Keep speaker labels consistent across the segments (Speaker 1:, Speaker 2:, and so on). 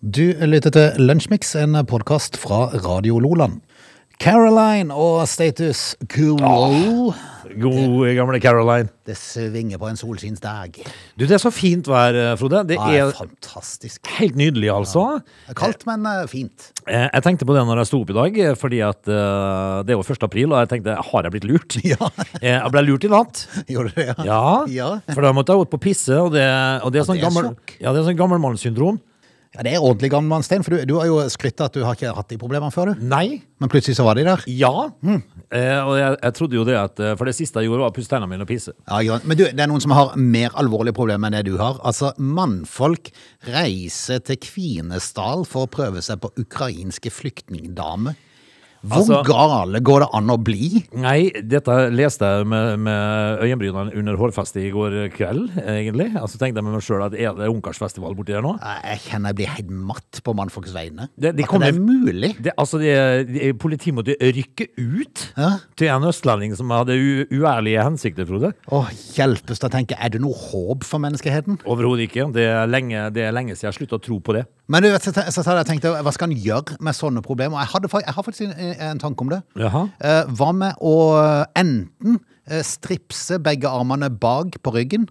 Speaker 1: Du lytter til Lunsjmix, en podkast fra Radio Loland. Caroline og Status Quo.
Speaker 2: Gode, gamle Caroline.
Speaker 1: Det svinger på en solskinnsdag.
Speaker 2: Du, Det er så fint vær, eh, Frode.
Speaker 1: Det
Speaker 2: Det
Speaker 1: er
Speaker 2: er
Speaker 1: fantastisk.
Speaker 2: helt nydelig, altså.
Speaker 1: Det er Kaldt, men eh, fint.
Speaker 2: Eh, Jeg tenkte på det når jeg sto opp i dag, eh, fordi at eh, det er jo 1. april, og jeg tenkte har jeg blitt lurt?
Speaker 1: Ja.
Speaker 2: Eh, Jeg ble lurt i natt.
Speaker 1: Gjorde du det?
Speaker 2: Ja,
Speaker 1: Ja.
Speaker 2: for da måtte jeg ut på pisse, og det, og det er
Speaker 1: Og
Speaker 2: sånn
Speaker 1: det er
Speaker 2: gammel,
Speaker 1: sjokk.
Speaker 2: ja, det er sånn gammelmannssyndrom.
Speaker 1: Ja, det er ordentlig gammel mann, Stein, for du, du har jo skrytt at du har ikke hatt de problemene før, du.
Speaker 2: Nei.
Speaker 1: Men plutselig så var de der.
Speaker 2: Ja. Eh, og jeg, jeg trodde jo det at eh, For det siste jeg gjorde, var å pusse tennene mine og pisse.
Speaker 1: Ja, ikke sant. Men du, det er noen som har mer alvorlige problemer enn det du har. Altså, mannfolk reiser til Kvinesdal for å prøve seg på ukrainske flyktningdamer. Hvor
Speaker 2: Altså-
Speaker 1: gale går det an å bli?
Speaker 2: Nei, dette leste jeg med, med øyenbrynene under hårfestet i går kveld, egentlig. Altså tenkte jeg med meg sjøl at er det ungkarsfestival borti der nå?
Speaker 1: Jeg kjenner jeg blir helt matt på mannfolks vegne.
Speaker 2: Det- de
Speaker 1: At
Speaker 2: kommer-
Speaker 1: det er mulig.
Speaker 2: Det, altså, det, det, Politiet måtte rykke ut
Speaker 1: Ja.
Speaker 2: til en østlending som hadde u, uærlige hensikter, Frode.
Speaker 1: Å, hjelpes da, tenker jeg. Er det noe håp for menneskeheten?
Speaker 2: Overhodet ikke. Det er, lenge, det er lenge siden jeg slutta å tro på det.
Speaker 1: Men du vet, så, så, så jeg tenkte, hva skal en gjøre med sånne problemer? Og Jeg, hadde, fa- jeg har faktisk en, en tanke om det.
Speaker 2: Jaha.
Speaker 1: Eh, hva med å enten eh, stripse begge armene bak på ryggen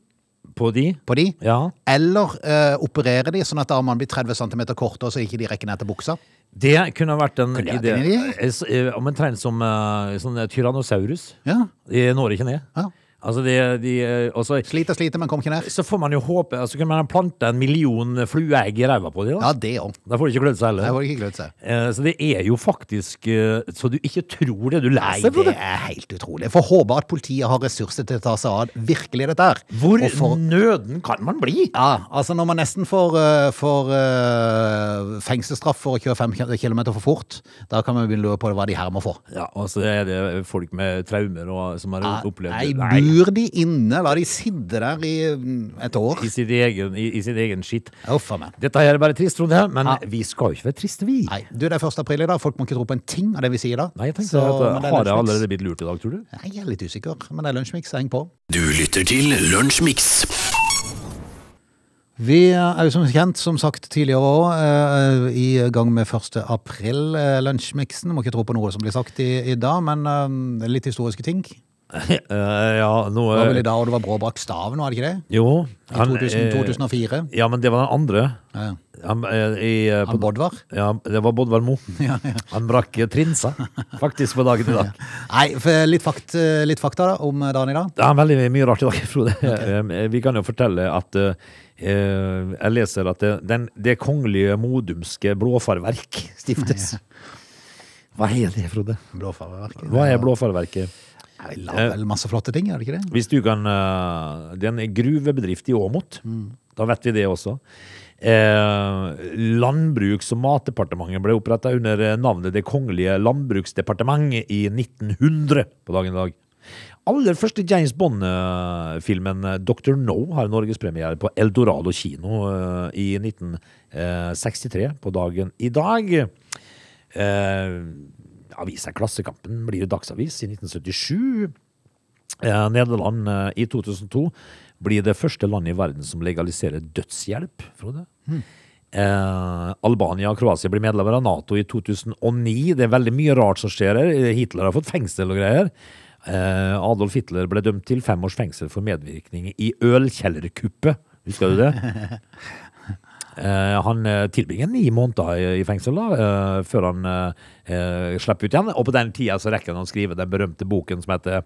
Speaker 2: På de?
Speaker 1: på de,
Speaker 2: Ja.
Speaker 1: Eller eh, operere de sånn at armene blir 30 cm kortere, så ikke de rekker ned til buksa.
Speaker 2: Det kunne vært en
Speaker 1: det vært
Speaker 2: idé.
Speaker 1: en idé?
Speaker 2: Eh, s- eh, Omtrent som eh, sånn tyrannosaurus.
Speaker 1: Ja.
Speaker 2: De når ikke ned.
Speaker 1: Ja.
Speaker 2: Altså, de, de eh, også,
Speaker 1: Sliter, sliter, men kom ikke ned.
Speaker 2: så får man jo håpe altså, Kunne man plante en million flueegg i ræva på dem? Da?
Speaker 1: Ja, det òg.
Speaker 2: da får de ikke klødd seg
Speaker 1: Det
Speaker 2: heller.
Speaker 1: var ikke glødd seg.
Speaker 2: Eh, Så det er jo faktisk eh, Så du ikke tror det du
Speaker 1: Nei,
Speaker 2: leser,
Speaker 1: det
Speaker 2: Frode.
Speaker 1: er helt utrolig. Jeg får håpe at politiet har ressurser til å ta seg av virkelig dette her.
Speaker 2: Hvor
Speaker 1: Og for-
Speaker 2: nøden kan man bli?
Speaker 1: Ja, altså når man nesten får, eh, får eh, fengselsstraff for å kjøre 5 km for fort, da kan man begynne å lure på hva de her må få.
Speaker 2: Ja, altså er det folk med traumer og, som har opplevd
Speaker 1: Ah, Nei,
Speaker 2: det.
Speaker 1: bur de inne? La de sitte der i mm, et år?
Speaker 2: i sin egen, i, i sin egen skitt.
Speaker 1: Uff a meg.
Speaker 2: Dette her er bare trist, Frode, men
Speaker 1: Ja.
Speaker 2: vi skal jo ikke være triste, vi.
Speaker 1: Nei, du, det er 1. april i dag. Folk må ikke tro på en ting av det vi sier da.
Speaker 2: Nei, jeg tenkte
Speaker 1: Så-
Speaker 2: at
Speaker 1: men
Speaker 2: eh,
Speaker 1: det er
Speaker 2: Har jeg
Speaker 1: Lunsjmix.
Speaker 2: allerede blitt lurt i dag, tror du?
Speaker 1: Nei, Jeg er litt usikker, men det er lunsjmix. Heng på.
Speaker 3: Du lytter til Lunsjmix.
Speaker 1: Vi er jo som kjent, som sagt tidligere òg, i gang med 1. april-lunsjmiksen. Må ikke tro på noe som blir sagt i, i dag, men eh, litt historiske ting. Det
Speaker 2: Eh, ja, nå
Speaker 1: var vel
Speaker 2: eh,
Speaker 1: i dag og det var Brå brakk staven, var det ikke det?
Speaker 2: Jo.
Speaker 1: I
Speaker 2: han,
Speaker 1: 2000,
Speaker 2: eh,
Speaker 1: 2004.
Speaker 2: Ja, men det var den andre.
Speaker 1: Ja.
Speaker 2: Han, eh, i, eh, på,
Speaker 1: Han Bodvar.
Speaker 2: ja, det var Bodvar Mo. Han brakk eh, trinsa, faktisk, på dagen i dag.
Speaker 1: Nei, for litt, fakt, eh, litt fakta da, om dagen i dag.
Speaker 2: Det er veldig mye rart i dag, Frode. Eh, Vi kan jo fortelle at eh, eh, jeg leser at det, den, det kongelige modumske blåfarverk stiftes. Hva er det, Frode?
Speaker 1: Blåfarverket.
Speaker 2: Hva er blåfarverket?
Speaker 1: Nei, vi la vel masse flotte ting, er det ikke det?
Speaker 2: Hvis du kan eh, Det er en gruvebedrift i Åmot. Da vet vi det også. Eh, Landbruks- og matdepartementet ble oppretta under eh, navnet Det kongelige landbruksdepartementet i 1900 på dagen i dag. Aller første James Bond-filmen eh, Dr. No har norgespremiere på Eldorado kino eh, i 1963 på dagen i dag. Eh, avisa Klassekampen blir jo dagsavis i 1977. Eh, Nederland eh, i 2002 blir det første landet i verden som legaliserer dødshjelp. Frode. Eh, Albania og Kroatia blir medlemmer av Nato i 2009. Det er veldig mye rart som skjer her. Eh, Hitler har fått fengsel og greier. Eh, Adolf Hitler ble dømt til fem års fengsel for medvirkning i ølkjellerkuppet. Husker du det? Eh, han eh, tilbringer ni måneder i, i fengsel da, eh, før han eh, eh, slipper ut igjen. Og på den tida så rekker han å skrive den berømte boken som heter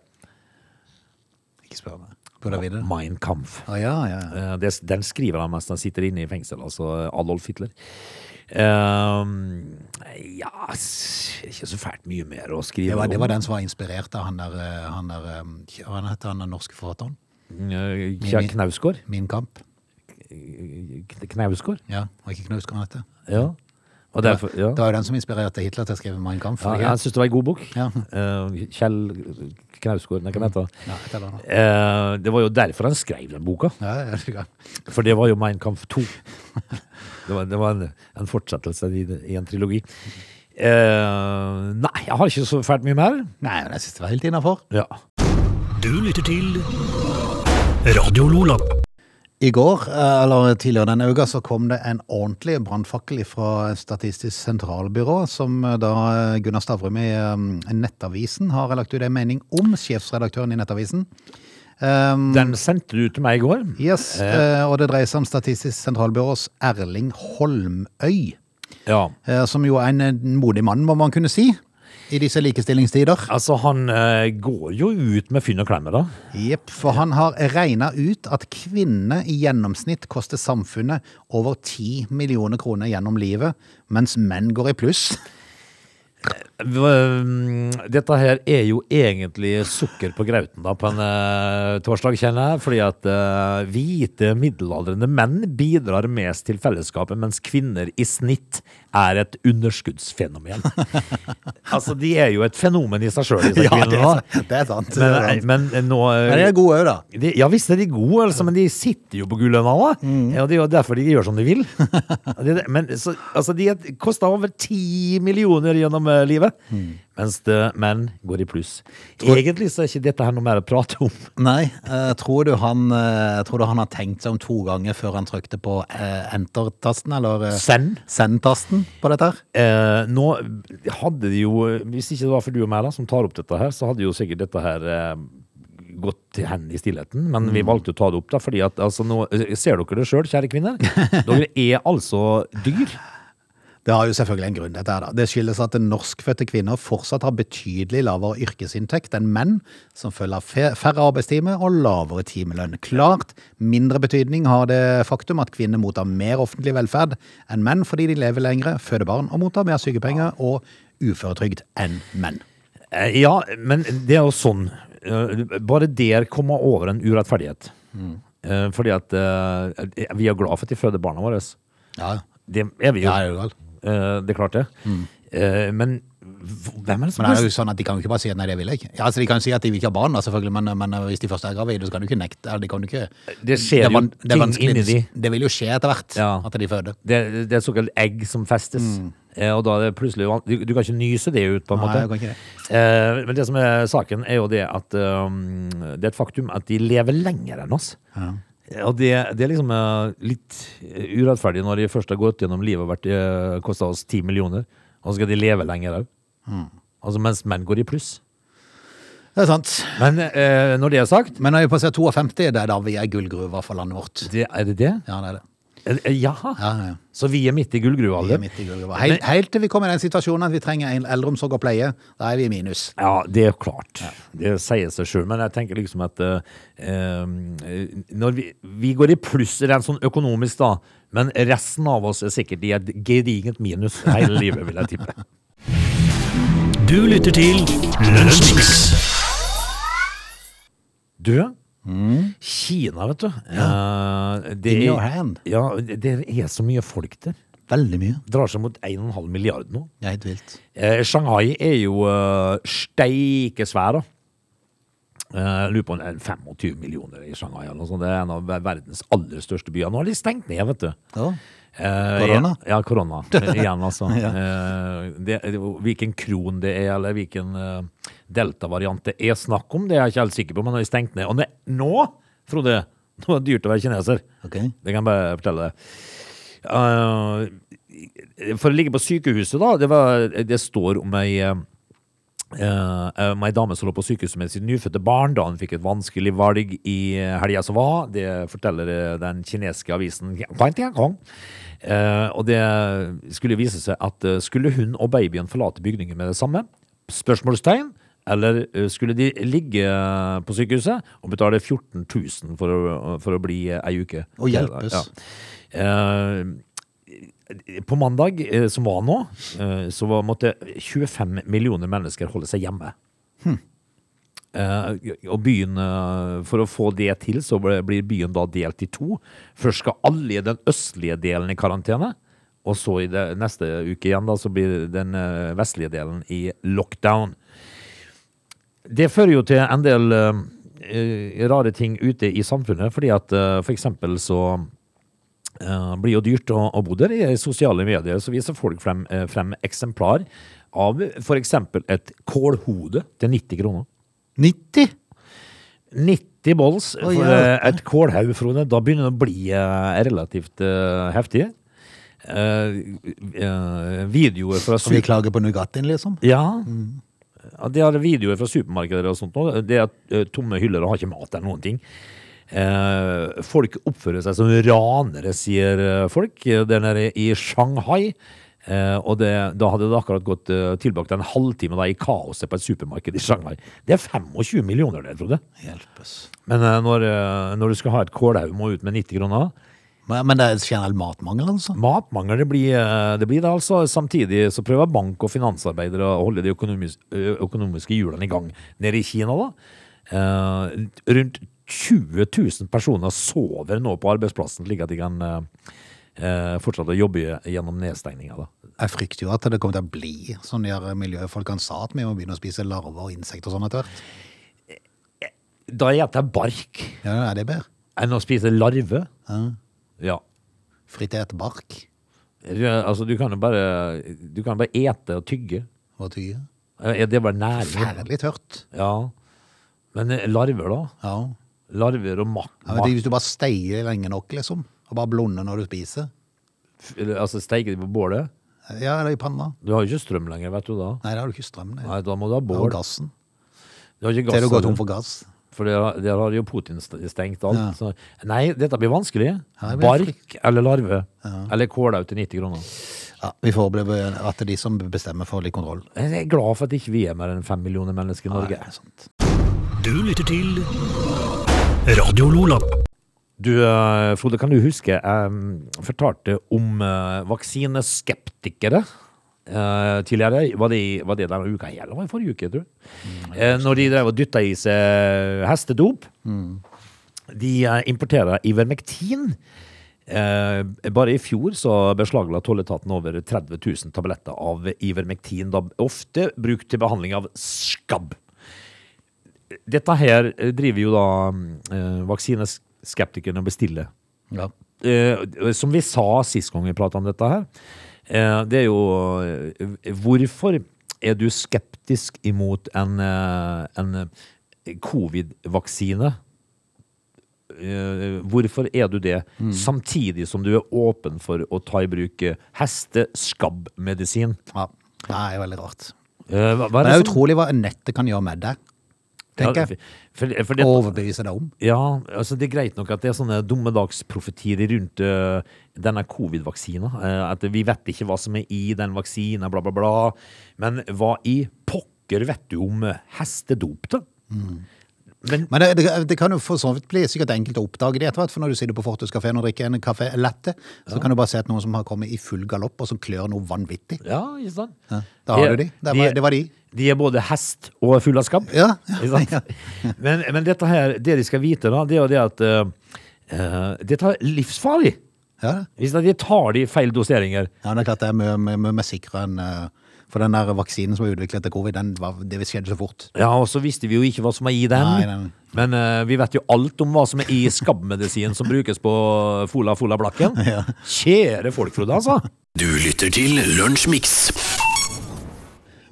Speaker 1: Ikke spør meg. Burde jeg videre?
Speaker 2: Mein Kampf.
Speaker 1: Å ja, ja. ja.
Speaker 2: Eh, det, den skriver han mens han sitter inne i fengsel, altså Adolf Hitler. Ehm, ja s- Ikke så fælt mye mer å skrive
Speaker 1: Det var, det
Speaker 2: om.
Speaker 1: var den som var inspirert av han der, eh, han der eh, Hva heter han den norske forfatteren?
Speaker 2: Eh, Kja- Knausgård?
Speaker 1: Min kamp.
Speaker 2: K- Knausgård?
Speaker 1: Ja, var ikke Knausgård han heter?
Speaker 2: Ja. Og
Speaker 1: Det
Speaker 2: derfor,
Speaker 1: var-
Speaker 2: ja.
Speaker 1: Det var jo den som inspirerte Hitler til å skrive Mein Kampf.
Speaker 2: Ja,
Speaker 1: var det
Speaker 2: jeg
Speaker 1: ikke?
Speaker 2: syns det var en god bok.
Speaker 1: Ja.
Speaker 2: Eh, Kjell Knausgård, nei, hva heter han?
Speaker 1: Ja, et eller annet.
Speaker 2: Eh, det var jo derfor han skrev den boka.
Speaker 1: Ja, ja, det er godt.
Speaker 2: For det var jo Mein Kampf 2. Det var, det var en, en fortsettelse i, i en trilogi. Eh, nei, jeg har ikke så fælt mye mer.
Speaker 1: Nei, men jeg synes det var helt innafor.
Speaker 2: Ja.
Speaker 3: Du lytter til Radio Lola.
Speaker 1: I går, eh, eller tidligere denne uka, så kom det en ordentlig brannfakkel fra Statistisk sentralbyrå, som eh, da eh, Gunnar Stavrum i eh, Nettavisen har lagt ut en mening om sjefsredaktøren i Nettavisen. Um,
Speaker 2: Den sendte du til meg i går.
Speaker 1: yes, eh, og det dreier seg om Statistisk sentralbyrås Erling Holmøy,
Speaker 2: Ja.
Speaker 1: eh, som jo er en eh, modig mann, må man kunne si, i disse likestillingstider.
Speaker 2: Altså, han eh, går jo ut med fynn og klemme, da.
Speaker 1: Jepp, for han har regna ut at kvinner i gjennomsnitt koster samfunnet over 10 millioner kroner gjennom livet, mens menn går i pluss.
Speaker 2: V- mm, Dette her er jo egentlig sukker på grauten da, på en eh, torsdag, kjenner jeg. Fordi at eh, hvite, middelaldrende menn bidrar mest til fellesskapet, mens kvinner i snitt er et underskuddsfenomen. altså, de er jo et fenomen i seg sjøl, disse
Speaker 1: det
Speaker 2: kvinnene.
Speaker 1: er,
Speaker 2: da.
Speaker 1: det er sant. det er sant.
Speaker 2: Men, men nå eh,
Speaker 1: Men de er gode òg, da.
Speaker 2: de, ja visst er de gode, altså, men de sitter jo på gullønna. da. Ja, det er jo derfor de gjør som de vil. Det er det- men så, altså, De koster over ti millioner gjennom eh, livet, mens det, menn går i pluss. Egentlig så er ikke dette her noe mer å prate om.
Speaker 1: Nei, eh, tror, du han, eh, tror du han har tenkt seg om to ganger før han trykte på eh, enter-tasten, eller eh,
Speaker 2: Send.
Speaker 1: send-tasten på dette her?
Speaker 2: Eh, nå hadde de jo Hvis ikke det var for du og meg da, som tar opp dette her, så hadde jo sikkert dette her eh, gått til hen i stillheten. Men vi valgte å ta det opp, da, fordi at altså, nå ser dere det sjøl, kjære kvinner. Dere er altså dyr.
Speaker 1: Det har jo selvfølgelig en grunn, dette her da. Det skyldes at norskfødte kvinner fortsatt har betydelig lavere yrkesinntekt enn menn, som følger fe- færre arbeidstimer og lavere timelønn. Klart mindre betydning har det faktum at kvinner mottar mer offentlig velferd enn menn fordi de lever lengre, føder barn og mottar mer sykepenger og uføretrygd enn menn.
Speaker 2: Eh, Ja, men det er jo sånn. eh, Bare der kommer over en urettferdighet.
Speaker 1: Mm.
Speaker 2: Eh, Fordi at eh, vi er glad for at de føder barna våre.
Speaker 1: Ja,
Speaker 2: Det er vi jo.
Speaker 1: Ja, det er jo gal.
Speaker 2: Eh, Det er klart det. Eh, Men v- hvem er det som
Speaker 1: men det er jo sånn at de kan jo ikke bare si at nei, det vil jeg ikke. Ja, altså de kan si at de vil ikke ha barn da, selvfølgelig, men, men hvis de først er gravide, så kan du ikke nekte. eller De kan du ikke...
Speaker 2: Det skjer
Speaker 1: er van-
Speaker 2: jo
Speaker 1: det er
Speaker 2: ting
Speaker 1: vanskelig-
Speaker 2: inni de.
Speaker 1: Det vil jo skje etter hvert
Speaker 2: Ja.
Speaker 1: at de føder.
Speaker 2: Det, er- det er såkalt egg som festes. Eh, Og da er det plutselig van- du, du kan ikke nyse det ut, på en
Speaker 1: Mm. Nei,
Speaker 2: måte.
Speaker 1: jeg kan ikke det.
Speaker 2: Eh, men det som er saken, er jo det at um, det er et faktum at de lever lenger enn oss. Eh, Og det, det er liksom eh, litt eh, urettferdig når de først har gått gjennom livet og vært, eh, kosta oss ti millioner, og så skal de leve lenger òg.
Speaker 1: Mm.
Speaker 2: Altså mens menn går i pluss.
Speaker 1: Det er sant.
Speaker 2: Men eh, når det er sagt
Speaker 1: Men når vi passerer 52, det er da vi er gullgruva for landet vårt.
Speaker 2: det, Er det det?
Speaker 1: Ja, det er det.
Speaker 2: Eh, Jaha.
Speaker 1: Ja, ja, ja.
Speaker 2: Så vi er midt i gullgruva?
Speaker 1: Vi
Speaker 2: aldri?
Speaker 1: er midt i gullgruva. Helt, helt til vi kommer i den situasjonen at vi trenger en eldreomsorg og pleie, da er vi i minus.
Speaker 2: Ja, det er klart. Det sier seg sjøl. Men jeg tenker liksom at eh, eh, når vi, vi går i pluss rent sånn økonomisk, da. Men resten av oss er sikkert i et gedigent minus hele livet, vil jeg tippe.
Speaker 3: Du lytter til Lunsjmix.
Speaker 2: Du, Kina, vet du. Eh, det
Speaker 1: Mm. In
Speaker 2: er-
Speaker 1: your hand.
Speaker 2: Ja, det det er så mye folk der.
Speaker 1: Veldig mye.
Speaker 2: Drar seg mot 1,5 milliard nå.
Speaker 1: Det er helt vilt.
Speaker 2: Eh, Shanghai er jo eh, steikesvær, da. Eh, lurer på om det er 25 millioner i Shanghai. Eller noe sånt. Det er en av ver- verdens aller største byer. Nå har de stengt ned, vet du.
Speaker 1: Ja.
Speaker 2: Eh,
Speaker 1: Korona?
Speaker 2: Ja, korona. Igjen, altså. Eh, det, hvilken kron det er, eller hvilken eh, delta-variant det er snakk om, det er jeg ikke helt sikker på, men nå har de stengt ned. Og ne- nå, Frode, nå er det dyrt å være kineser.
Speaker 1: Ok.
Speaker 2: Det kan jeg bare fortelle deg. Eh, for å ligge på sykehuset, da. Det, var, det står om ei eh, eh, om ei dame som lå på sykehuset med sitt nyfødte barn da hun fikk et vanskelig valg i helga som var. Det forteller eh, den kineske avisen Guang Tiangong. Eh, og det skulle vise seg at eh, skulle hun og babyen forlate bygningen med det samme? Spørsmålstegn. Eller eh, skulle de ligge eh, på sykehuset og betale 14 000 for å, for å bli eh, ei uke?
Speaker 1: Og hjelpes.
Speaker 2: Ja. Eh, på mandag, eh, som var nå, eh, så var, måtte 25 millioner mennesker holde seg hjemme. Eh, og byen, eh, for å få det til, så ble- blir byen da delt i to. Først skal alle i den østlige delen i karantene, og så i det, neste uke igjen da, så blir den eh, vestlige delen i lockdown. Det fører jo til en del eh, eh, rare ting ute i samfunnet, fordi at eh, for eksempel så eh, blir jo dyrt å, å bo der. I sosiale medier så viser folk frem, eh, frem eksemplar av for eksempel et kålhode til 90 kroner.
Speaker 1: 90?
Speaker 2: 90 90 bolls
Speaker 1: Å,
Speaker 2: for
Speaker 1: ja.
Speaker 2: eh, et kålhaug, Frode. Da begynner det å bli eh, relativt eh, heftig. Eh, eh, videoer fra
Speaker 1: Så vi
Speaker 2: Super...
Speaker 1: klager på Nugattien, liksom?
Speaker 2: Ja. Mm. Ja, De har videoer fra supermarkeder og sånt. nå. Det at eh, tomme hyller og har ikke mat eller noen ting. Eh, folk oppfører seg som ranere, sier eh, folk. eh, Der nede i Shanghai. Eh, og det, da hadde det akkurat gått eh, tilbake til en halvtime da, i kaoset på et supermarked i Shanghai. Det er 25 millioner der, Frode.
Speaker 1: Hjelpes.
Speaker 2: Men eh, når, eh, når du skal ha et kålhaug må ut med 90 kroner
Speaker 1: Men, men det er generell matmangel, altså?
Speaker 2: Matmangel det blir, eh, det blir det altså. Samtidig så prøver bank og finansarbeidere å holde de økonomis ø- økonomiske hjulene i gang nede i Kina. da. Eh, rundt 20 000 personer sover nå på arbeidsplassen, slik at de kan eh, eh, fortsette å jobbe gjennom nedstengninga. da.
Speaker 1: Jeg frykter jo at det kommer til å bli sånn de her miljøfolkene sa, at vi må begynne å spise larver og insekter og sånn etter hvert.
Speaker 2: Da spiser jeg bark
Speaker 1: Ja, er det bedre?
Speaker 2: enn å spise larve. Ja.
Speaker 1: Fritert bark
Speaker 2: Ja, Altså, du kan jo bare, du kan bare ete og tygge.
Speaker 1: og tye.
Speaker 2: Eh, Det er bare næring.
Speaker 1: Forferdelig tørt.
Speaker 2: Ja. Men eh, larver, da?
Speaker 1: Ja.
Speaker 2: Larver og mak...
Speaker 1: ja men det, er hvis du bare steier lenge nok, liksom, og bare blonder når du spiser
Speaker 2: mak- eller, altså, Steiker de på bålet?
Speaker 1: Ja, eller i panna.
Speaker 2: Du har jo ikke strøm lenger, vet du da.
Speaker 1: Nei, da har du ikke strøm. Nei.
Speaker 2: Nei, Da må du ha
Speaker 1: Og
Speaker 2: bål.
Speaker 1: gassen.
Speaker 2: Du har
Speaker 1: Til
Speaker 2: ikke gass,
Speaker 1: du går
Speaker 2: har
Speaker 1: tom
Speaker 2: du.
Speaker 1: for gass.
Speaker 2: for der, har- der har jo Putin st- stengt alt.
Speaker 1: Ja.
Speaker 2: Så, nei, dette blir vanskelig.
Speaker 1: Ja, det blir
Speaker 2: Bark eller larve. Eller kålau til 90 kroner.
Speaker 1: Ja, vi får håpe at det er de som bestemmer, får litt kontroll.
Speaker 2: Jeg er glad for at ikke vi er mer enn fem millioner mennesker i Norge.
Speaker 1: Nei, sant.
Speaker 3: Du lytter til Radio Lola.
Speaker 2: Du, eh, Frode, kan du huske jeg fortalte om eh, vaksineskeptikere eh, tidligere? Var det, i- var det denne uka her, eller var det forrige uke, tror du? Eh, Når de drev og dytta i seg hestedop. De eh, importerer Ivermectin. Eh, bare i fjor så beslagla tolletaten over 30 000 tabletter av Ivermectin, da ofte brukt til behandling av skabb. Dette her eh, driver jo da eh, vaksineskeptikerne og bestiller.
Speaker 1: Ja.
Speaker 2: Eh, som vi sa sist gang vi prata om dette her, eh, det er jo eh, Hvorfor er du skeptisk imot en, eh, en eh, covid-vaksine? Eh, hvorfor er du det,
Speaker 1: Mm.
Speaker 2: samtidig som du er åpen for å ta i bruk eh, hesteskabbmedisin?
Speaker 1: ja. Det er jo veldig rart.
Speaker 2: Eh, hva, hva
Speaker 1: Men det sånn- er
Speaker 2: som-
Speaker 1: utrolig hva nettet kan gjøre med deg.
Speaker 2: Ja,
Speaker 1: Tenker jeg.
Speaker 2: for, for, for
Speaker 1: Å
Speaker 2: det,
Speaker 1: overbevise deg om.
Speaker 2: Ja, altså det er greit nok at det er sånne dommedagsprofetier rundt øh, denne covid-vaksina. øh, at vi vet ikke hva som er i den vaksina, bla, bla, bla. Men hva i pokker vet du om øh, hestedop, da?
Speaker 1: Mm.
Speaker 2: Men
Speaker 1: Men det, det, det kan jo for så vidt bli sikkert enkelt å oppdage det etter hvert. For når du sitter på Fortus kafé og drikker en kaffe latte, så kan du bare se at noen som har kommet i full galopp, og som klør noe vanvittig.
Speaker 2: Ja, ikke sant?
Speaker 1: Ja, da har du de. Det var- det var de.
Speaker 2: De er både hest og full av skabb.
Speaker 1: Ja, ja,
Speaker 2: Ikke sant? Men, men dette her, det de skal vite, da, det er jo det at øh, øh, Dette er livsfarlig.
Speaker 1: Ja,
Speaker 2: Hvis de tar de i feil doseringer.
Speaker 1: ja det er klart det er mye, mye, mye mer sikrere enn eh, For den der vaksinen som er utviklet til covid, den var, det skjedde så fort.
Speaker 2: Ja, og så visste vi jo ikke hva som er i den.
Speaker 1: Nei, nei, nei.
Speaker 2: Men eh, vi vet jo alt om hva som er i skabbmedisin som brukes på Fola Fola Blakken. Kjære folk, Frode, altså.
Speaker 3: Du lytter til Lunsjmix.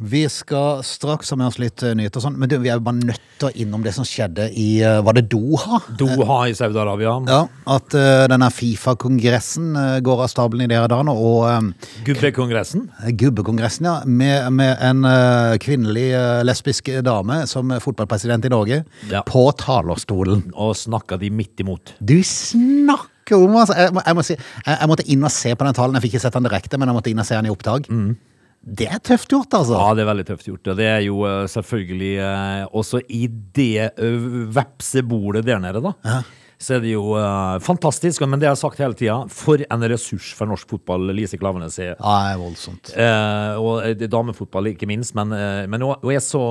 Speaker 1: Vi skal straks ha med oss litt eh, nyheter og sånn, men du, vi er jo bare nødt til å innom det som skjedde i eh, Var det Doha?
Speaker 2: Doha i Saudi-Arabia.
Speaker 1: Ja, at eh, denne Fifa-kongressen eh, går av stabelen i de her dagene, og eh,
Speaker 2: Gubbekongressen.
Speaker 1: Gubbekongressen, ja, med, med en eh, kvinnelig eh, lesbisk dame som er fotballpresident i Norge,
Speaker 2: Ja.
Speaker 1: på talerstolen.
Speaker 2: Og snakka de midt imot.
Speaker 1: Du snakker om, altså! Jeg, må- jeg, må si, jeg, jeg måtte inn og se på den talen. Jeg fikk ikke sett den direkte, men jeg måtte inn og se den i opptak. Det er tøft gjort, altså.
Speaker 2: Mm. Ja, det er veldig tøft gjort. Og det er jo eh, selvfølgelig eh, også i det eh, vepsebordet der nede, da. Så er det jo eh, fantastisk, men det jeg har sagt hele tida, for en ressurs for norsk fotball Lise Klavenes er.
Speaker 1: Ja, det er voldsomt.
Speaker 2: Eh, og eh, det er damefotball, ikke minst. Men, eh, men hun, hun er så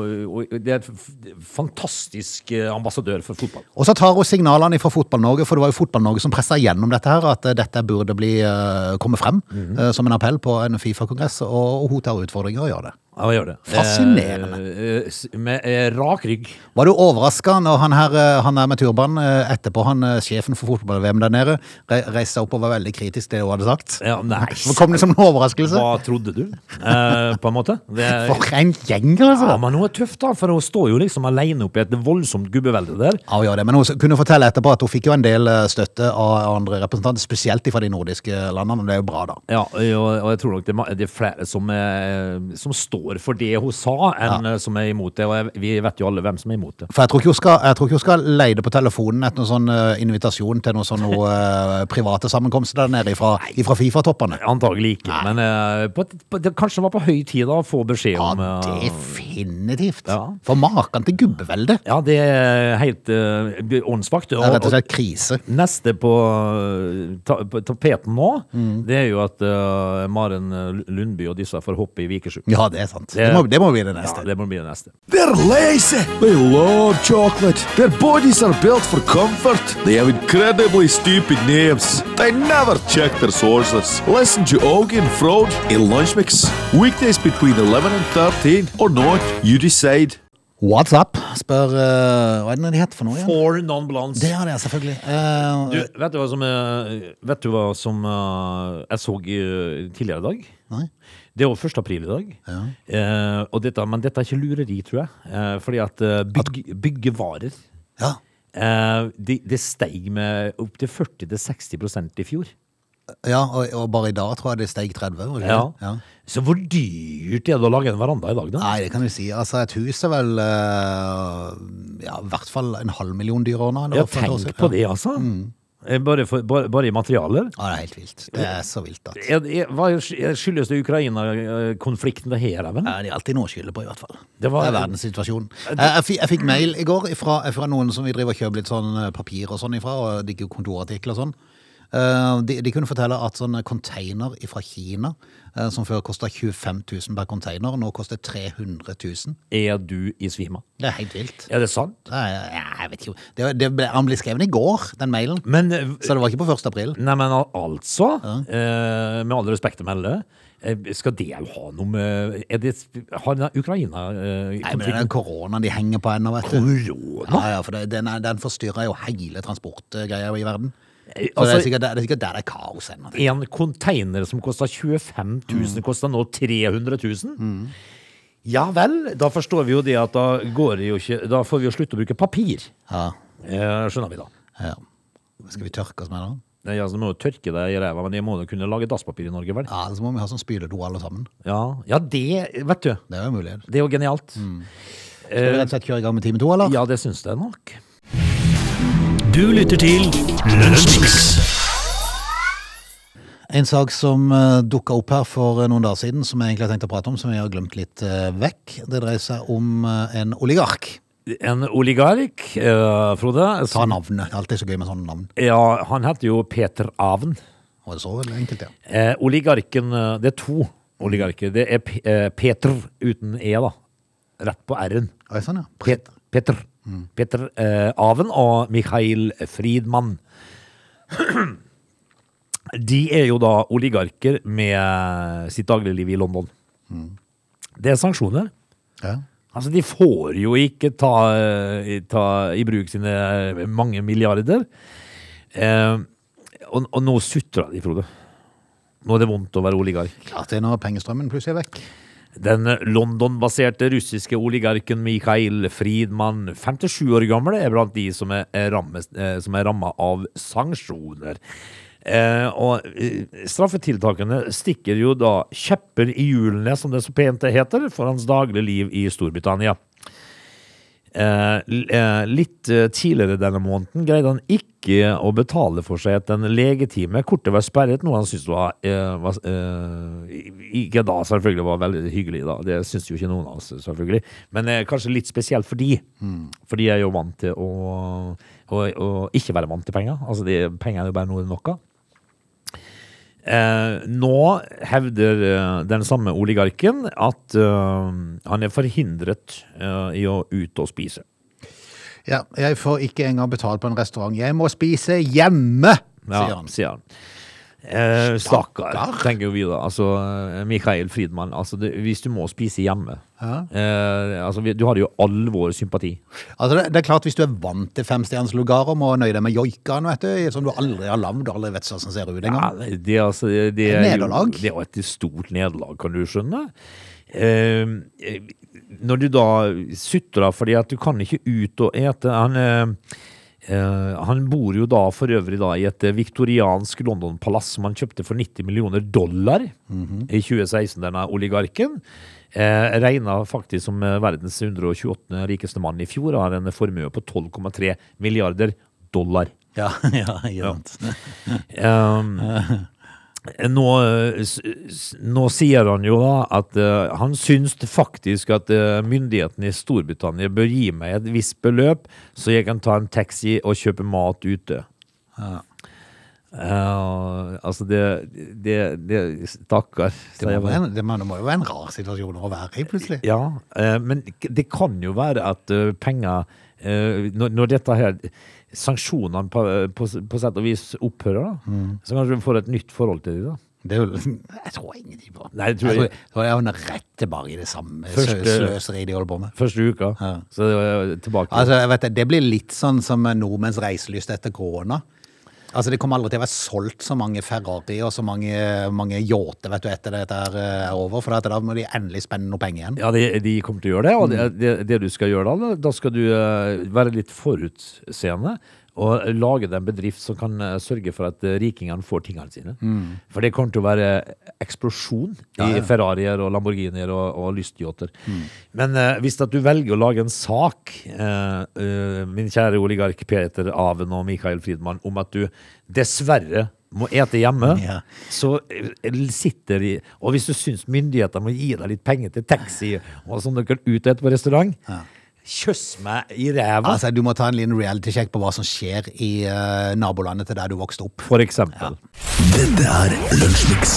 Speaker 2: hun, Det er et f- fantastisk eh, ambassadør for fotball.
Speaker 1: Og så tar hun signalene fra Fotball-Norge, for det var jo Fotball-Norge som pressa gjennom dette her, at eh, dette
Speaker 2: Mm.
Speaker 1: burde bli, eh, komme frem eh, som en appell på en Fifa-kongress, og, og hun tar utfordringer og gjør det.
Speaker 2: jeg gjør det.
Speaker 1: Fascinerende.
Speaker 2: Eh, eh, s- med eh, rak rygg.
Speaker 1: Var du overraska når han her, eh, han her med turban eh, etterpå, han eh, sjefen for fotball-VM der nede, re reiste seg opp og var veldig kritisk til det hun hadde sagt?
Speaker 2: Ja, nei,
Speaker 1: Kom det som en overraskelse?
Speaker 2: Eh, hva trodde du? Eh, på en måte. Det er,
Speaker 1: For en gjeng, altså!
Speaker 2: ja, men hun er tøff, da, for hun står jo liksom alene oppi et voldsomt gubbevelde der.
Speaker 1: Ja, hun gjør det. Men hun kunne fortelle etterpå at hun fikk jo en del eh, støtte av andre representanter, spesielt fra de nordiske landene, og det er jo bra, da.
Speaker 2: Ja, og, og jeg tror nok det, er ma- det er flere som, eh, som står for det hun sa, enn eh, som er imot det. Og jeg, vi vet jo alle hvem som er imot det.
Speaker 1: For jeg tror ikke hun skal, jeg tror ikke hun skal leie det på telefonen etter noen sånn eh, invitasjon til noen sånn eh, private sammenkomster der nede ifra, ifra Fifa-toppene.
Speaker 2: Antagelig ikke, men eh, på, på, det kanskje det var på høy tid da å få beskjed
Speaker 1: Ja,
Speaker 2: om eh,
Speaker 1: definitivt.
Speaker 2: Ja.
Speaker 1: For maken til gubbevelde.
Speaker 2: Ja, det er helt eh, åndsvakt.
Speaker 1: Det er rett og slett krise.
Speaker 2: Neste på, eh, ta, på tapeten nå,
Speaker 1: Mm.
Speaker 2: det er jo at eh, Maren Lundby og disse får hoppe i Vikersund.
Speaker 1: Ja, det er sant. Det må, det må bli det neste.
Speaker 2: Ja, det må bli det neste.
Speaker 4: They're lazy. They love chocolate. Their bodies are built for comfort. They have incredibly stupid names. They never check their sources. Listen to Augie and Frode in Lunch Mix. Weekdays between 11 and 13 or not, you decide.
Speaker 1: What's up? Spør eh, Hva er det nå de heter for noe igjen?
Speaker 2: Four non-blondes.
Speaker 1: Det er det, selvfølgelig. Eh,
Speaker 2: Du, vet du hva som, eh, vet du hva som eh, jeg så i, eh, tidligere i dag?
Speaker 1: Nei.
Speaker 2: Det er jo 1. april i dag. Eh, og dette, men dette er ikke lureri, tror jeg. Eh, fordi at eh, bygg, byggevarer
Speaker 1: ja.
Speaker 2: eh, Det de steig med opptil 40-60 i fjor.
Speaker 1: ja og, og bare i dag tror jeg det steg 30. var det ikke det? ja.
Speaker 2: Så hvor dyrt er det å lage en veranda i dag, da?
Speaker 1: Nei, det kan du si. Altså, et hus er vel eh, ja, i hvert fall en halv million dyr år nå. eller
Speaker 2: Ja,
Speaker 1: for et år
Speaker 2: tenk
Speaker 1: siden.
Speaker 2: på det, altså. Eh, Bare, for, bare, bare i materialer.
Speaker 1: Ja, det er helt vilt. Det er så vilt at
Speaker 2: Er, er, hva skyldes det Ukraina-konflikten det her, Even?
Speaker 1: ja, Det er alltid noe å skylde på, i hvert fall.
Speaker 2: Det var-
Speaker 1: er verdenssituasjonen. Eh, Jeg, jeg, fi- jeg fikk mail i går fra, fra noen som vi driver og kjøper litt sånn eh, papir og sånn ifra, og det er ikke kontorartikler og sånn. Eh, de, de kunne fortelle at sånne container fra Kina, eh, som før kosta 25 000 per container, nå koster 300 000.
Speaker 2: Er du i svima?
Speaker 1: Det er helt vilt.
Speaker 2: Er det sant?
Speaker 1: Det er, jeg vet ikke. Det, det ble, han ble skrevet i går, den mailen.
Speaker 2: Men, eh,
Speaker 1: Så det var ikke på 1. april.
Speaker 2: nei, men al- altså, eh, med all respekt å melde, eh, skal det jo ha noe med er det, Har den eh,
Speaker 1: Nei, men
Speaker 2: Ukraina-konflikten
Speaker 1: den koronaen de henger på ennå, vet du. Ja, ja, for det, den, er- den forstyrrer jo hele transportgreia i verden. Så det, er
Speaker 2: Altså,
Speaker 1: sikkert, der- det er sikkert der det er kaos ennå.
Speaker 2: en container som kosta 25 000, koster nå 300 000? Ja vel, da forstår vi jo det at da går det jo ikke Da får vi jo slutte å bruke papir.
Speaker 1: Ja,
Speaker 2: Eh, skjønner vi da.
Speaker 1: ja. Skal vi tørke oss med det? da?
Speaker 2: Nei, altså, Du må jo tørke deg i ræva, men jeg må jo kunne lage dasspapir i Norge, vel?
Speaker 1: Ja, eller så må vi ha sånn spyledo alle sammen.
Speaker 2: Ja, ja det Vet du.
Speaker 1: Det er jo en mulighet.
Speaker 2: Det er jo genialt.
Speaker 1: Skal vi rett og slett kjøre i gang med time to, eller?
Speaker 2: Eh, Ja, det syns jeg nok.
Speaker 3: Du lytter til Lunsjmix.
Speaker 1: En sak som uh, dukka opp her for eh, noen dager siden, som jeg egentlig har tenkt å prate om, som jeg har glemt litt eh, vekk. Det dreier seg om eh, en oligark.
Speaker 2: En oligark, eh, Frode.
Speaker 1: Ta
Speaker 2: Som,
Speaker 1: navnet. Det er alltid så gøy med sånne navn.
Speaker 2: ja, han heter jo Peter Aven.
Speaker 1: Og det er så enkelt, ja.
Speaker 2: Eh, oligarken eh, Det er to oligarker. Det er P eh, Peter uten E, da. Rett på R-en.
Speaker 1: Oi, sånn, ja.
Speaker 2: Pet Peter. Peter eh, Aven og Mikhail Friedmann. De er jo da oligarker med eh, sitt dagligliv i London. Det er sanksjoner.
Speaker 1: ja.
Speaker 2: Altså, de får jo ikke ta, ta i bruk sine eh, mange milliarder. Eh, og, og nå sutrer de, Frode. Nå er det vondt å være oligark.
Speaker 1: Klart det er når pengestrømmen plutselig er vekk.
Speaker 2: Den London-baserte russiske oligarken Mikhail Friedmann, 57 år gammel, er blant de som er, er rammes- eh, som er ramma av sanksjoner. Eh, og eh, straffetiltakene stikker jo da kjepper i hjulene, som det så pent heter, for hans daglige liv i Storbritannia. Eh, l- eh, litt eh, tidligere denne måneden greide han ikke å betale for seg etter en legetime. Kortet var sperret, noe han syntes var, eh, var eh, i- Ikke da, selvfølgelig, var veldig hyggelig. da Det syns jo ikke noen av oss, selvfølgelig. Men eh, kanskje litt spesielt for de. For de er jo vant til å, å, å ikke være vant til penger. Altså, de, penger er jo bare noe de nok av. Eh, nå hevder eh, den samme oligarken at eh, han er forhindret eh, i å ut og spise.
Speaker 1: Ja, jeg får ikke engang betalt på en restaurant. Jeg må spise hjemme,
Speaker 2: Ja,
Speaker 1: sier han.
Speaker 2: sier han. Eh, stakkar,
Speaker 1: Stakkar.
Speaker 2: tenker jo vi da. Altså, eh, Mikael Friedmann, altså, det, hvis du må spise hjemme
Speaker 1: Ja.
Speaker 2: eh, altså, vi- Du har jo all vår sympati.
Speaker 1: Altså det, det er klart Hvis du er vant til femstjerners lugarer, må nøye deg med joikaen, vet du, som du aldri har lagd. Aldri vet hvordan den ser ut engang.
Speaker 2: Ja, det, er altså, det, det er jo-
Speaker 1: Nederlag.
Speaker 2: Det er jo et stort nederlag, kan du skjønne. Eh, når du da sutrer fordi at du kan ikke ut og ete Han, eh, eh, han bor jo da for øvrig da i et eh, viktoriansk London-palass som han kjøpte for 90 millioner dollar i 2016, denne oligarken. Eh, Regna faktisk som eh, verdens 128. rikeste mann i fjor, og har en formue på 12,3 milliarder dollar.
Speaker 1: Ja, ja, ikke sant.
Speaker 2: Um, nå, eh, s- s- nå sier han jo da at eh, han syns faktisk at eh, myndighetene i Storbritannia bør gi meg et visst beløp, så jeg kan ta en taxi og kjøpe mat ute. Eh, altså, det, det, det Stakkar.
Speaker 1: Det, må være en- det, må- det må jo være en rar situasjon å være i, plutselig.
Speaker 2: Ja, eh, men k- det kan jo være at eh, penger eh, når, når dette her sanksjonene på, eh, på, på sett og vis opphører, da,
Speaker 1: Mm.
Speaker 2: så kanskje vi får et nytt forhold til det. da.
Speaker 1: Det er jo, jeg tror ingenting på
Speaker 2: Nei, det tror jeg-
Speaker 1: Jeg tror jeg havner rett tilbake i det samme
Speaker 2: Første-
Speaker 1: sø- sløseriet de holder på med.
Speaker 2: Første uka.
Speaker 1: Ja.
Speaker 2: Så det var eh, tilbake.
Speaker 1: Altså, jeg vet, det, det blir litt sånn som nordmenns reiselyst etter korona. Altså, Det kommer aldri til å være solgt så mange Ferrari og så mange, mange yachter vet du, etter dette her eh, er over, for at da må de endelig spenne noe penger igjen.
Speaker 2: ja, de, de kommer til å gjøre det. Og det,
Speaker 1: Mm.
Speaker 2: det, det du skal gjøre da, da skal du eh, være litt forutseende. Og lage deg en bedrift som kan eh, sørge for at eh, rikingene får tingene sine.
Speaker 1: Mm.
Speaker 2: For det kommer til å være eksplosjon i Ferrarier og Lamborghinier og, og lystyachter.
Speaker 1: Mm.
Speaker 2: Men eh, hvis at du velger å lage en sak, eh, eh, min kjære oligark Peter Aven og Mikael Friedmann, om at du dessverre må ete hjemme,
Speaker 1: Ja.
Speaker 2: så eh, sitter de Og hvis du syns myndighetene må gi deg litt penger til taxi, og sånn dere kan ut og ete på restaurant, kjøss meg i ræva,
Speaker 1: Altså, Du må ta en liten reality-sjekk på hva som skjer i eh, nabolandet til der du vokste opp.
Speaker 2: for eksempel.
Speaker 3: Dette er Lunsjmix.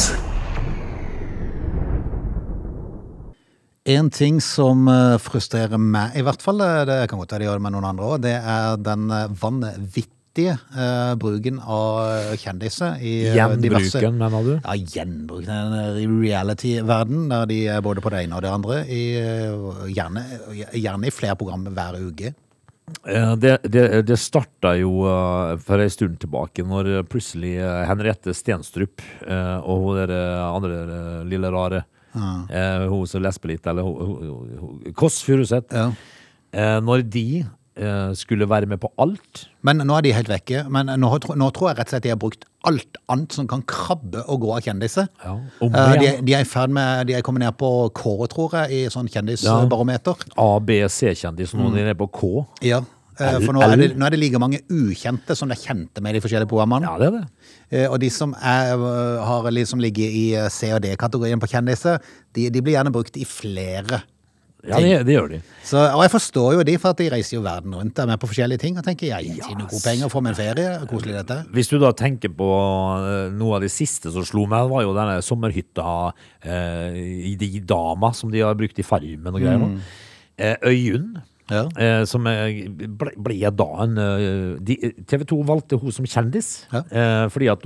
Speaker 1: En ting som eh, frustrerer meg, i hvert fall, eh, det kan godt være det gjør det med noen andre òg, det er den eh, vanvittige eh, bruken av kjendiser i eh, diverse
Speaker 2: Gjenbruken, mener du?
Speaker 1: Ja, gjenbruk den der i reality-verden, der de er både på det ene og det andre, i, eh, gjerne, gjerne i flere program hver uke.
Speaker 2: Eh, Det, det, det starta jo eh, for ei stund tilbake, når eh, plutselig eh, Henriette Stenstrup eh, og hun der eh, andre eh, lille rare eh, Hun som lesber litt, eller hun- hun- hun- Kåss Furuseth.
Speaker 1: Ja.
Speaker 2: eh, Når de eh, skulle være med på alt
Speaker 1: Men nå er de helt vekke. Men nå, har- nå tror jeg rett og slett de har brukt alt annet som kan krabbe og gå av kjendiser.
Speaker 2: Ja, om
Speaker 1: Eh, de,
Speaker 2: igjen.
Speaker 1: de er i ferd med De er kommet ned på K, tror jeg, i sånn kjendisbarometer.
Speaker 2: A, B, C-kjendis, og nå er de nede på K.
Speaker 1: Ja. eh, For nå er, det, nå er det like mange ukjente som det er kjente med i de forskjellige programmene.
Speaker 2: Ja, det er det.
Speaker 1: Eh, Og de som er, eh, har liksom ligget i eh, C- og D-kategorien på kjendiser, de, de blir gjerne brukt i flere.
Speaker 2: Ja, det, det gjør de.
Speaker 1: Så, og jeg forstår jo de, for at de reiser jo verden rundt der med på forskjellige ting. Og tenker jeg gir noen gode penger, får meg en ferie. Koselig dette.
Speaker 2: Hvis du da tenker på eh, noe av det siste som slo meg, var jo denne sommerhytta eh, i de dama som de har brukt i Farmen og greier. nå. Eh, Øyunn,
Speaker 1: Ja.
Speaker 2: eh, som eh, ble, ble da en eh, de, TV 2 valgte hun som kjendis
Speaker 1: Ja.
Speaker 2: eh, fordi at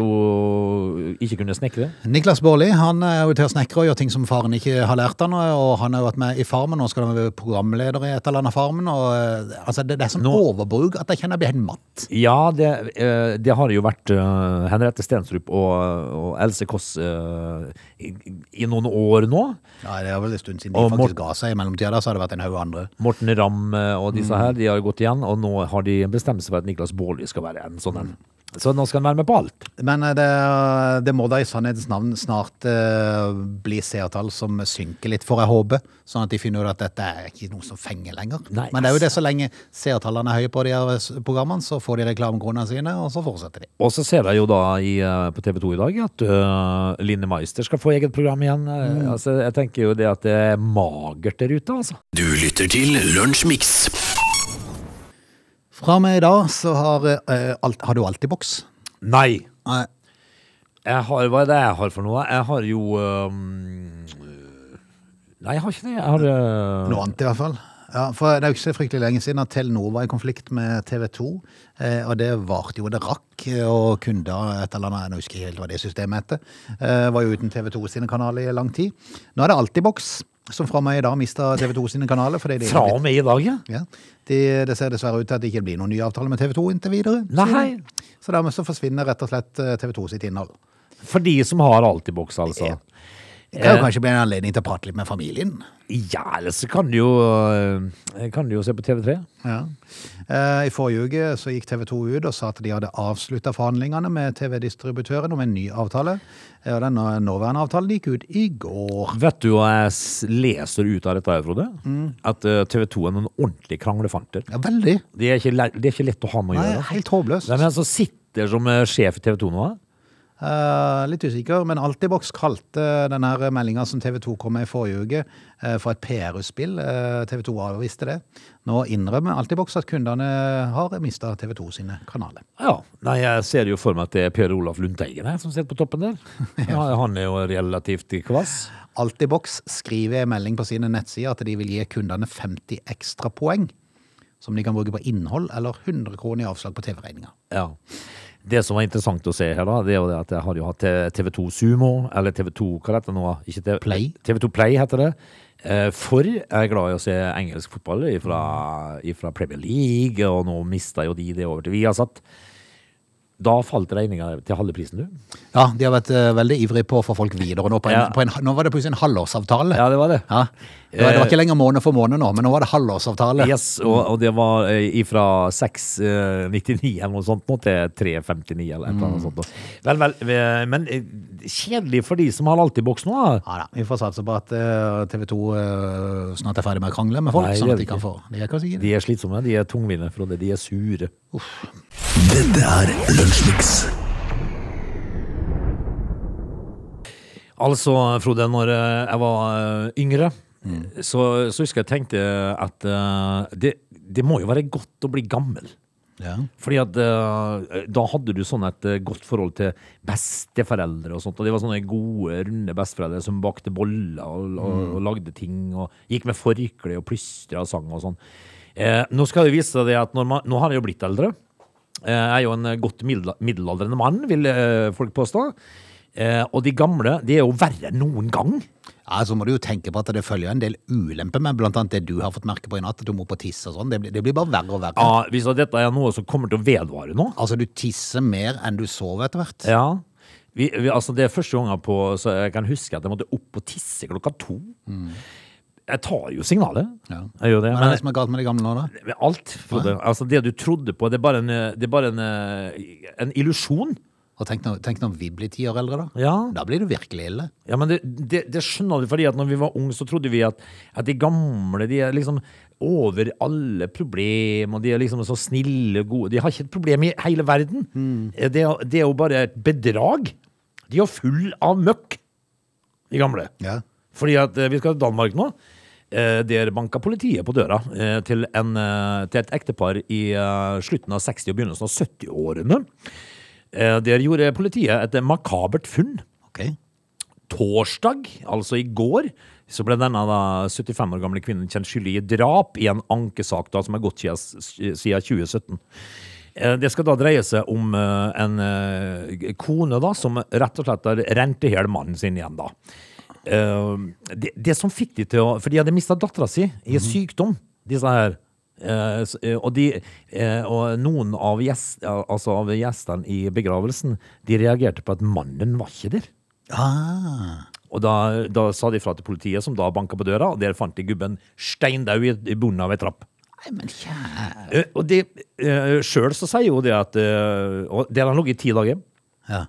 Speaker 2: hun ikke kunne snekre.
Speaker 1: Niklas Baarli han er jo til å snekre og gjøre ting som faren ikke har lært han, og han har jo vært med i Farmen, nå skal han være programleder i et eller annet Farmen. Og, eh, altså, det, det er sånn overbruk at jeg kjenner jeg blir helt matt.
Speaker 2: Ja, det, eh, det har jo vært eh, Henriette Stenstrup og, og Else Kåss eh, i, i noen år nå.
Speaker 1: Ja, Det er vel en stund siden
Speaker 2: Og
Speaker 1: de faktisk
Speaker 2: Morten-
Speaker 1: ga seg. I mellomtida da, så har det vært en haug andre.
Speaker 2: Morten Ramm eh, og disse her, de har gått igjen, og nå har de bestemt seg for at Niklas Baarli skal være en sånn en. Så nå skal han være med på alt.
Speaker 1: Men eh, det, det må da i sannhetens navn snart eh, bli seertall som synker litt, får jeg håpe. Sånn at de finner ut at dette er ikke noe som fenger lenger.
Speaker 2: Nei,
Speaker 1: Men det er jo
Speaker 2: altså.
Speaker 1: det så lenge seertallene er høye på de her eh, s- programmene, så får de reklamekronene sine, og så fortsetter de.
Speaker 2: Og så ser jeg jo da i, eh, på TV 2 i dag at eh, Line Meister skal få eget program igjen. eh, Altså, jeg tenker jo det at det er magert der ute, altså.
Speaker 3: Du lytter til Lunsjmix.
Speaker 1: Fra og med i dag så har, eh, alt, har du alltid boks.
Speaker 2: Nei!
Speaker 1: Nei,
Speaker 2: Jeg har, hva er det jeg har for noe? Jeg har jo eh, Nei, jeg har ikke det. Jeg har eh,
Speaker 1: noe annet i hvert fall. Ja, for Det er jo ikke så fryktelig lenge siden at Telenor var i konflikt med TV 2. Eh, og det varte jo, det rakk. eh, Og kunder et eller annet, jeg husker ikke helt hva det systemet heter, eh, var jo uten TV 2 sine kanaler i lang tid. Nå er det Altibox som fra og med i dag mister TV 2 sine kanaler. Fordi de,
Speaker 2: Fra og med i dag, ja.
Speaker 1: Ja, de, Det ser dessverre ut til at det ikke blir noen ny avtale med TV 2 inntil videre. sier
Speaker 2: Nei.
Speaker 1: de. Så dermed så forsvinner rett og slett eh, TV 2 sitt innhold.
Speaker 2: For de som har Altibox, altså.
Speaker 1: Ja. Det kan jo kanskje bli en anledning til å prate litt med familien.
Speaker 2: Ja, eller så kan du jo, eh, kan du jo se på TV3.
Speaker 1: Ja. Eh, I forrige uke så gikk TV 2 ut og sa at de hadde avslutta forhandlingene med TV-distributøren om en ny avtale. Eh, Og den nå- nåværende avtalen gikk ut i går.
Speaker 2: Vet du hva jeg s- leser ut av dette, her, Frode?
Speaker 1: Mm.
Speaker 2: At eh, TV2 er noen ordentlige kranglefanter.
Speaker 1: Ja, veldig.
Speaker 2: Det er ikke, le- det er ikke lett å ha med å
Speaker 1: Nei,
Speaker 2: gjøre.
Speaker 1: helt håpløst.
Speaker 2: Hvem er det som sitter som eh, sjef i TV2 nå? da?
Speaker 1: Eh, litt usikker, men Altibox kalte denne meldinga som TV 2 kom med i forrige uke, eh, for et Eh, PR-utspill. TV 2 avviste det. Nå innrømmer Altibox at kundene har mista TV 2 sine kanaler.
Speaker 2: Ja, nei, Jeg ser jo for meg at det er Per Olaf Lundteigen her som sitter på toppen der. Ja, han er jo relativt kvass.
Speaker 1: Altibox skriver i en melding på sine nettsider at de vil gi kundene 50 ekstra poeng, som de kan bruke på innhold, eller 100 kroner i avslag på TV-regninga.
Speaker 2: Ja. Det som var interessant å se her, da, det er jo det at jeg har jo hatt TV2 Sumo, eller TV2 hva heter det nå? Ikke TV,
Speaker 1: Play.
Speaker 2: TV2 Play heter det. Eh, For jeg er glad i å se engelsk fotball fra, Premier League, og nå mista jo de det over til Viasat. Da falt regninga til halve prisen, du.
Speaker 1: Ja, de har vært eh, veldig ivrige på å få folk videre. Nå, på en,
Speaker 2: Ja.
Speaker 1: på en, nå var det plutselig en halvårsavtale.
Speaker 2: Ja, Eh. det var det.
Speaker 1: Ja. Det, var, det var ikke lenger måned for måned nå, men nå var det halvårsavtale.
Speaker 2: Yes, og, og det var eh, ifra 6,99 eller noe sånt nå til 3,59 eller et eller annet sånt. nå. Vel, vel, eh, men eh, kjedelig for de som har Altibox nå, da.
Speaker 1: Ja da, Vi får satse på at eh, TV 2 snart er ferdig med å krangle med folk,
Speaker 2: Nei, det
Speaker 1: sånn
Speaker 2: er
Speaker 1: at de
Speaker 2: det
Speaker 1: kan
Speaker 2: ikke.
Speaker 1: få De er kanskje ikke det.
Speaker 2: De er slitsomme, de er tungvinte, Frode. De er sure.
Speaker 3: Dette er Lunsjmix.
Speaker 2: Altså, Frode, når eh, jeg var eh, yngre, så, så husker jeg tenkte at eh, det, det må jo være godt å bli gammel.
Speaker 1: Ja.
Speaker 2: Fordi at eh, da hadde du sånn et eh, godt forhold til besteforeldre og sånt, og det var sånne gode, runde besteforeldre som bakte boller og, og, og lagde ting, og gikk med forkle og plystra og sang og sånn. Eh, nå skal det vise seg det at når man, nå har jeg jo blitt eldre. Eh, Jeg er jo en eh, godt middel- middelaldrende mann, vil eh, folk påstå. Eh, og de gamle, de er jo verre enn noen gang.
Speaker 1: Ja, Så må du jo tenke på at det følger en del ulemper med blant annet det du har fått merke på i natt, at du må på tiss og sånn. Det, blir- det blir bare verre og verre.
Speaker 2: Ja, Ah, hvis at dette er noe som kommer til å vedvare nå,
Speaker 1: Altså, du tisser mer enn du sover etter hvert.
Speaker 2: Ja. Vi, vi, altså det er første gangen på, så jeg kan huske at jeg måtte opp og tisse klokka to. Jeg tar jo signalet.
Speaker 1: Mm. Ja.
Speaker 2: Jeg gjør
Speaker 1: Hva
Speaker 2: det.
Speaker 1: er det
Speaker 2: Men
Speaker 1: som er galt med de gamle nå, da?
Speaker 2: men alt, Frode. Altså det du trodde på, det er bare en, eh, det er bare en, eh, en illusjon.
Speaker 1: Og tenk når, tenk når vi blir ti år eldre, da.
Speaker 2: Ja.
Speaker 1: Da blir det virkelig ille.
Speaker 2: Ja, men det, det, det skjønner du, fordi at når vi var unge, så trodde vi at, at de gamle, de er liksom over alle problem, og de er liksom så snille, gode. De har ikke et problem i hele verden. Det, er- det er jo bare et bedrag. De er jo full av møkk, de gamle.
Speaker 1: Ja.
Speaker 2: Fordi at eh, vi skal til Danmark nå. Eh, Der banka politiet på døra eh, til, en, eh, til et ektepar i eh, slutten av 60- og begynnelsen av 70-årene. Eh, Der gjorde politiet et eh, makabert funn
Speaker 1: Ok.
Speaker 2: torsdag, altså i går, så ble denne da 75 år gamle kvinnen kjent skyldig i drap i en ankesak da, som er gått siden, siden 2017. Eh, Det skal da dreie seg om eh, en eh, kone da, som rett og slett har rent i hjel mannen sin igjen. da. Eh, Det, det som fikk de til å For de hadde mista dattera si i sykdom, disse her. Eh, s- eh, og, de, eh, og noen av, gjest, altså av gjestene i begravelsen De reagerte på at mannen var ikke der.
Speaker 1: Ah.
Speaker 2: Og da, da sa de fra til politiet, som da banka på døra, og der fant de gubben steindau i, i bunnen av ei trapp.
Speaker 1: Nei, men kjære
Speaker 2: Eh, og de, eh, sjøl så sier jo det at eh, Og der har han ligget i ti dager.
Speaker 1: ja.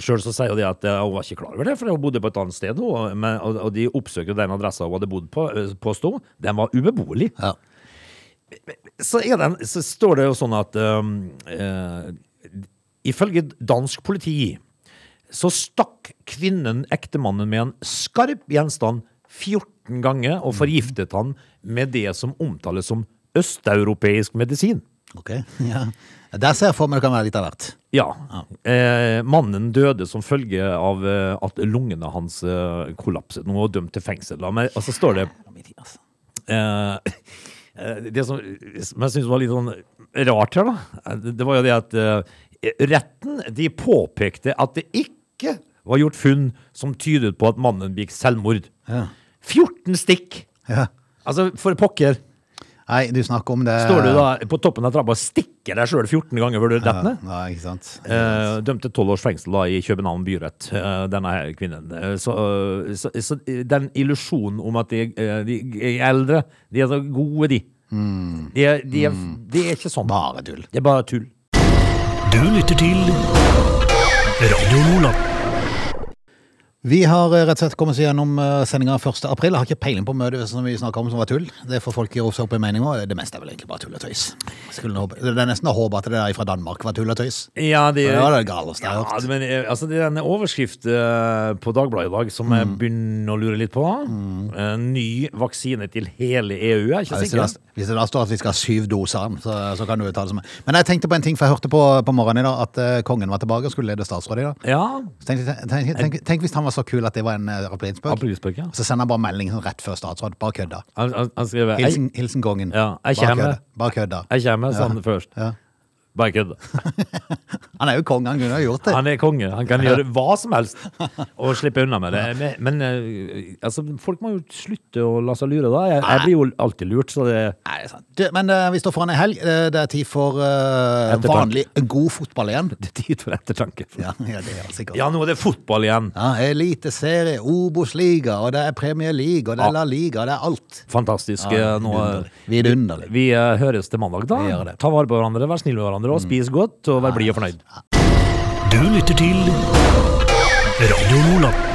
Speaker 2: Sjøl så sier jo det at eh, hun var ikke klar over det, for hun bodde på et annet sted. Og, men, og, og de oppsøkte den adressa hun hadde bodd på, eh, påsto. Den var ubeboelig.
Speaker 1: ja.
Speaker 2: Så, er den, så står det jo sånn at eh, eh, Ifølge dansk politi så stakk kvinnen ektemannen med en skarp gjenstand 14 ganger og forgiftet han med det som omtales som østeuropeisk medisin.
Speaker 1: Ok. Ja. Der ser jeg for meg det kan være litt av hvert.
Speaker 2: Ja. Eh, mannen døde som følge av eh, at lungene hans eh, kollapset. Nå er han dømt til fengsel. da. Men, og så står altså det
Speaker 1: Ja, min tid, altså.
Speaker 2: eh, eh, det som, som jeg syns var litt sånn rart her, da, eh, det var jo det at eh, retten de påpekte at det ikke var gjort funn som tydet på at mannen begikk selvmord.
Speaker 1: Ja.
Speaker 2: 14 stikk!
Speaker 1: Ja.
Speaker 2: Altså, for pokker.
Speaker 1: Nei, du snakker om det
Speaker 2: Står du da på toppen av trappa og stikker deg sjøl 14 ganger før du detter ned?
Speaker 1: Ja, ikke sant.
Speaker 2: Eh, dømte tolv års fengsel da i København byrett, eh, denne her kvinnen. Eh, så, eh, så, så den illusjonen om at de, eh, de er eldre, de er så gode, de.
Speaker 1: Mm.
Speaker 2: Det er, de er, det er ikke sånn.
Speaker 1: Bare tull.
Speaker 2: Det er bare tull.
Speaker 3: Du lytter til Radio Lola.
Speaker 1: Vi har eh, rett og slett kommet oss gjennom eh, sendinga 1. april. Jeg har ikke peiling på møtet som vi snakka om som var tull. Det får folk roe seg opp i meninga. Det meste er vel egentlig bare tull og tøys. Skulle nå håpe. Det er nesten å håpe at det der fra Danmark var tull og tøys.
Speaker 2: Ja, de,
Speaker 1: Det var det galeste jeg har
Speaker 2: ja,
Speaker 1: hørt.
Speaker 2: men eh, altså, det er en overskrift eh, på Dagbladet i dag som jeg
Speaker 1: Mm.
Speaker 2: begynner å lure litt på. Eh, ny vaksine til hele EU, jeg er ikke
Speaker 1: Hvis Mm. det,
Speaker 2: sikker.
Speaker 1: da, hvis det da står at vi skal ha syv doser, av den, så, så kan du jo ta det som Men jeg tenkte på en ting, for jeg hørte på, på morgenen i dag at eh, kongen var tilbake og skulle lede statsrådet i dag.
Speaker 2: Ja,
Speaker 1: Så tenkte jeg, tenk, tenk, tenk, tenk hvis han var så kul at det var en uh, aprilspøk.
Speaker 2: aprilspøk, ja.
Speaker 1: Og så sender han bare melding sånn rett før statsråd. Bare kødda.
Speaker 2: Han, han, han skrev «Jeg-
Speaker 1: Hilsen, hilsen kongen.
Speaker 2: Ja,
Speaker 1: Bare
Speaker 2: jeg kommer.
Speaker 1: kødda. Bare kødda.
Speaker 2: Jeg kommer, sa han først.
Speaker 1: Ja.
Speaker 2: Bare kødda.
Speaker 1: Han er jo konge, han kunne ha gjort det.
Speaker 2: Han er konge. Han kan gjøre hva som helst og slippe unna med det. Men, men eh, altså, folk må jo slutte å la seg lure, da. Jeg, jeg blir jo alltid lurt, så det
Speaker 1: Nei, det er sant. Du, men eh, vi står foran ei helg. Eh, det er tid for eh,
Speaker 2: Ettertanke.
Speaker 1: vanlig god fotball igjen.
Speaker 2: det er tid for ettertanke.
Speaker 1: Ja, ja det er sikkert.
Speaker 2: Ja, nå er det fotball igjen.
Speaker 1: Ja, Eliteserie, Obos-liga, og det er Premier League, og det
Speaker 2: Ja.
Speaker 1: er La Liga, og det er alt.
Speaker 2: Fantastisk. eh, nå, eh,
Speaker 1: Vidunderlig.
Speaker 2: vi eh, høres til mandag,
Speaker 1: Vi gjør
Speaker 2: da.
Speaker 1: det. Mm.
Speaker 2: Ta vare på hverandre, vær snille med hverandre, og spis godt, og vær blid og fornøyd.
Speaker 3: Du lytter til Radio Lola.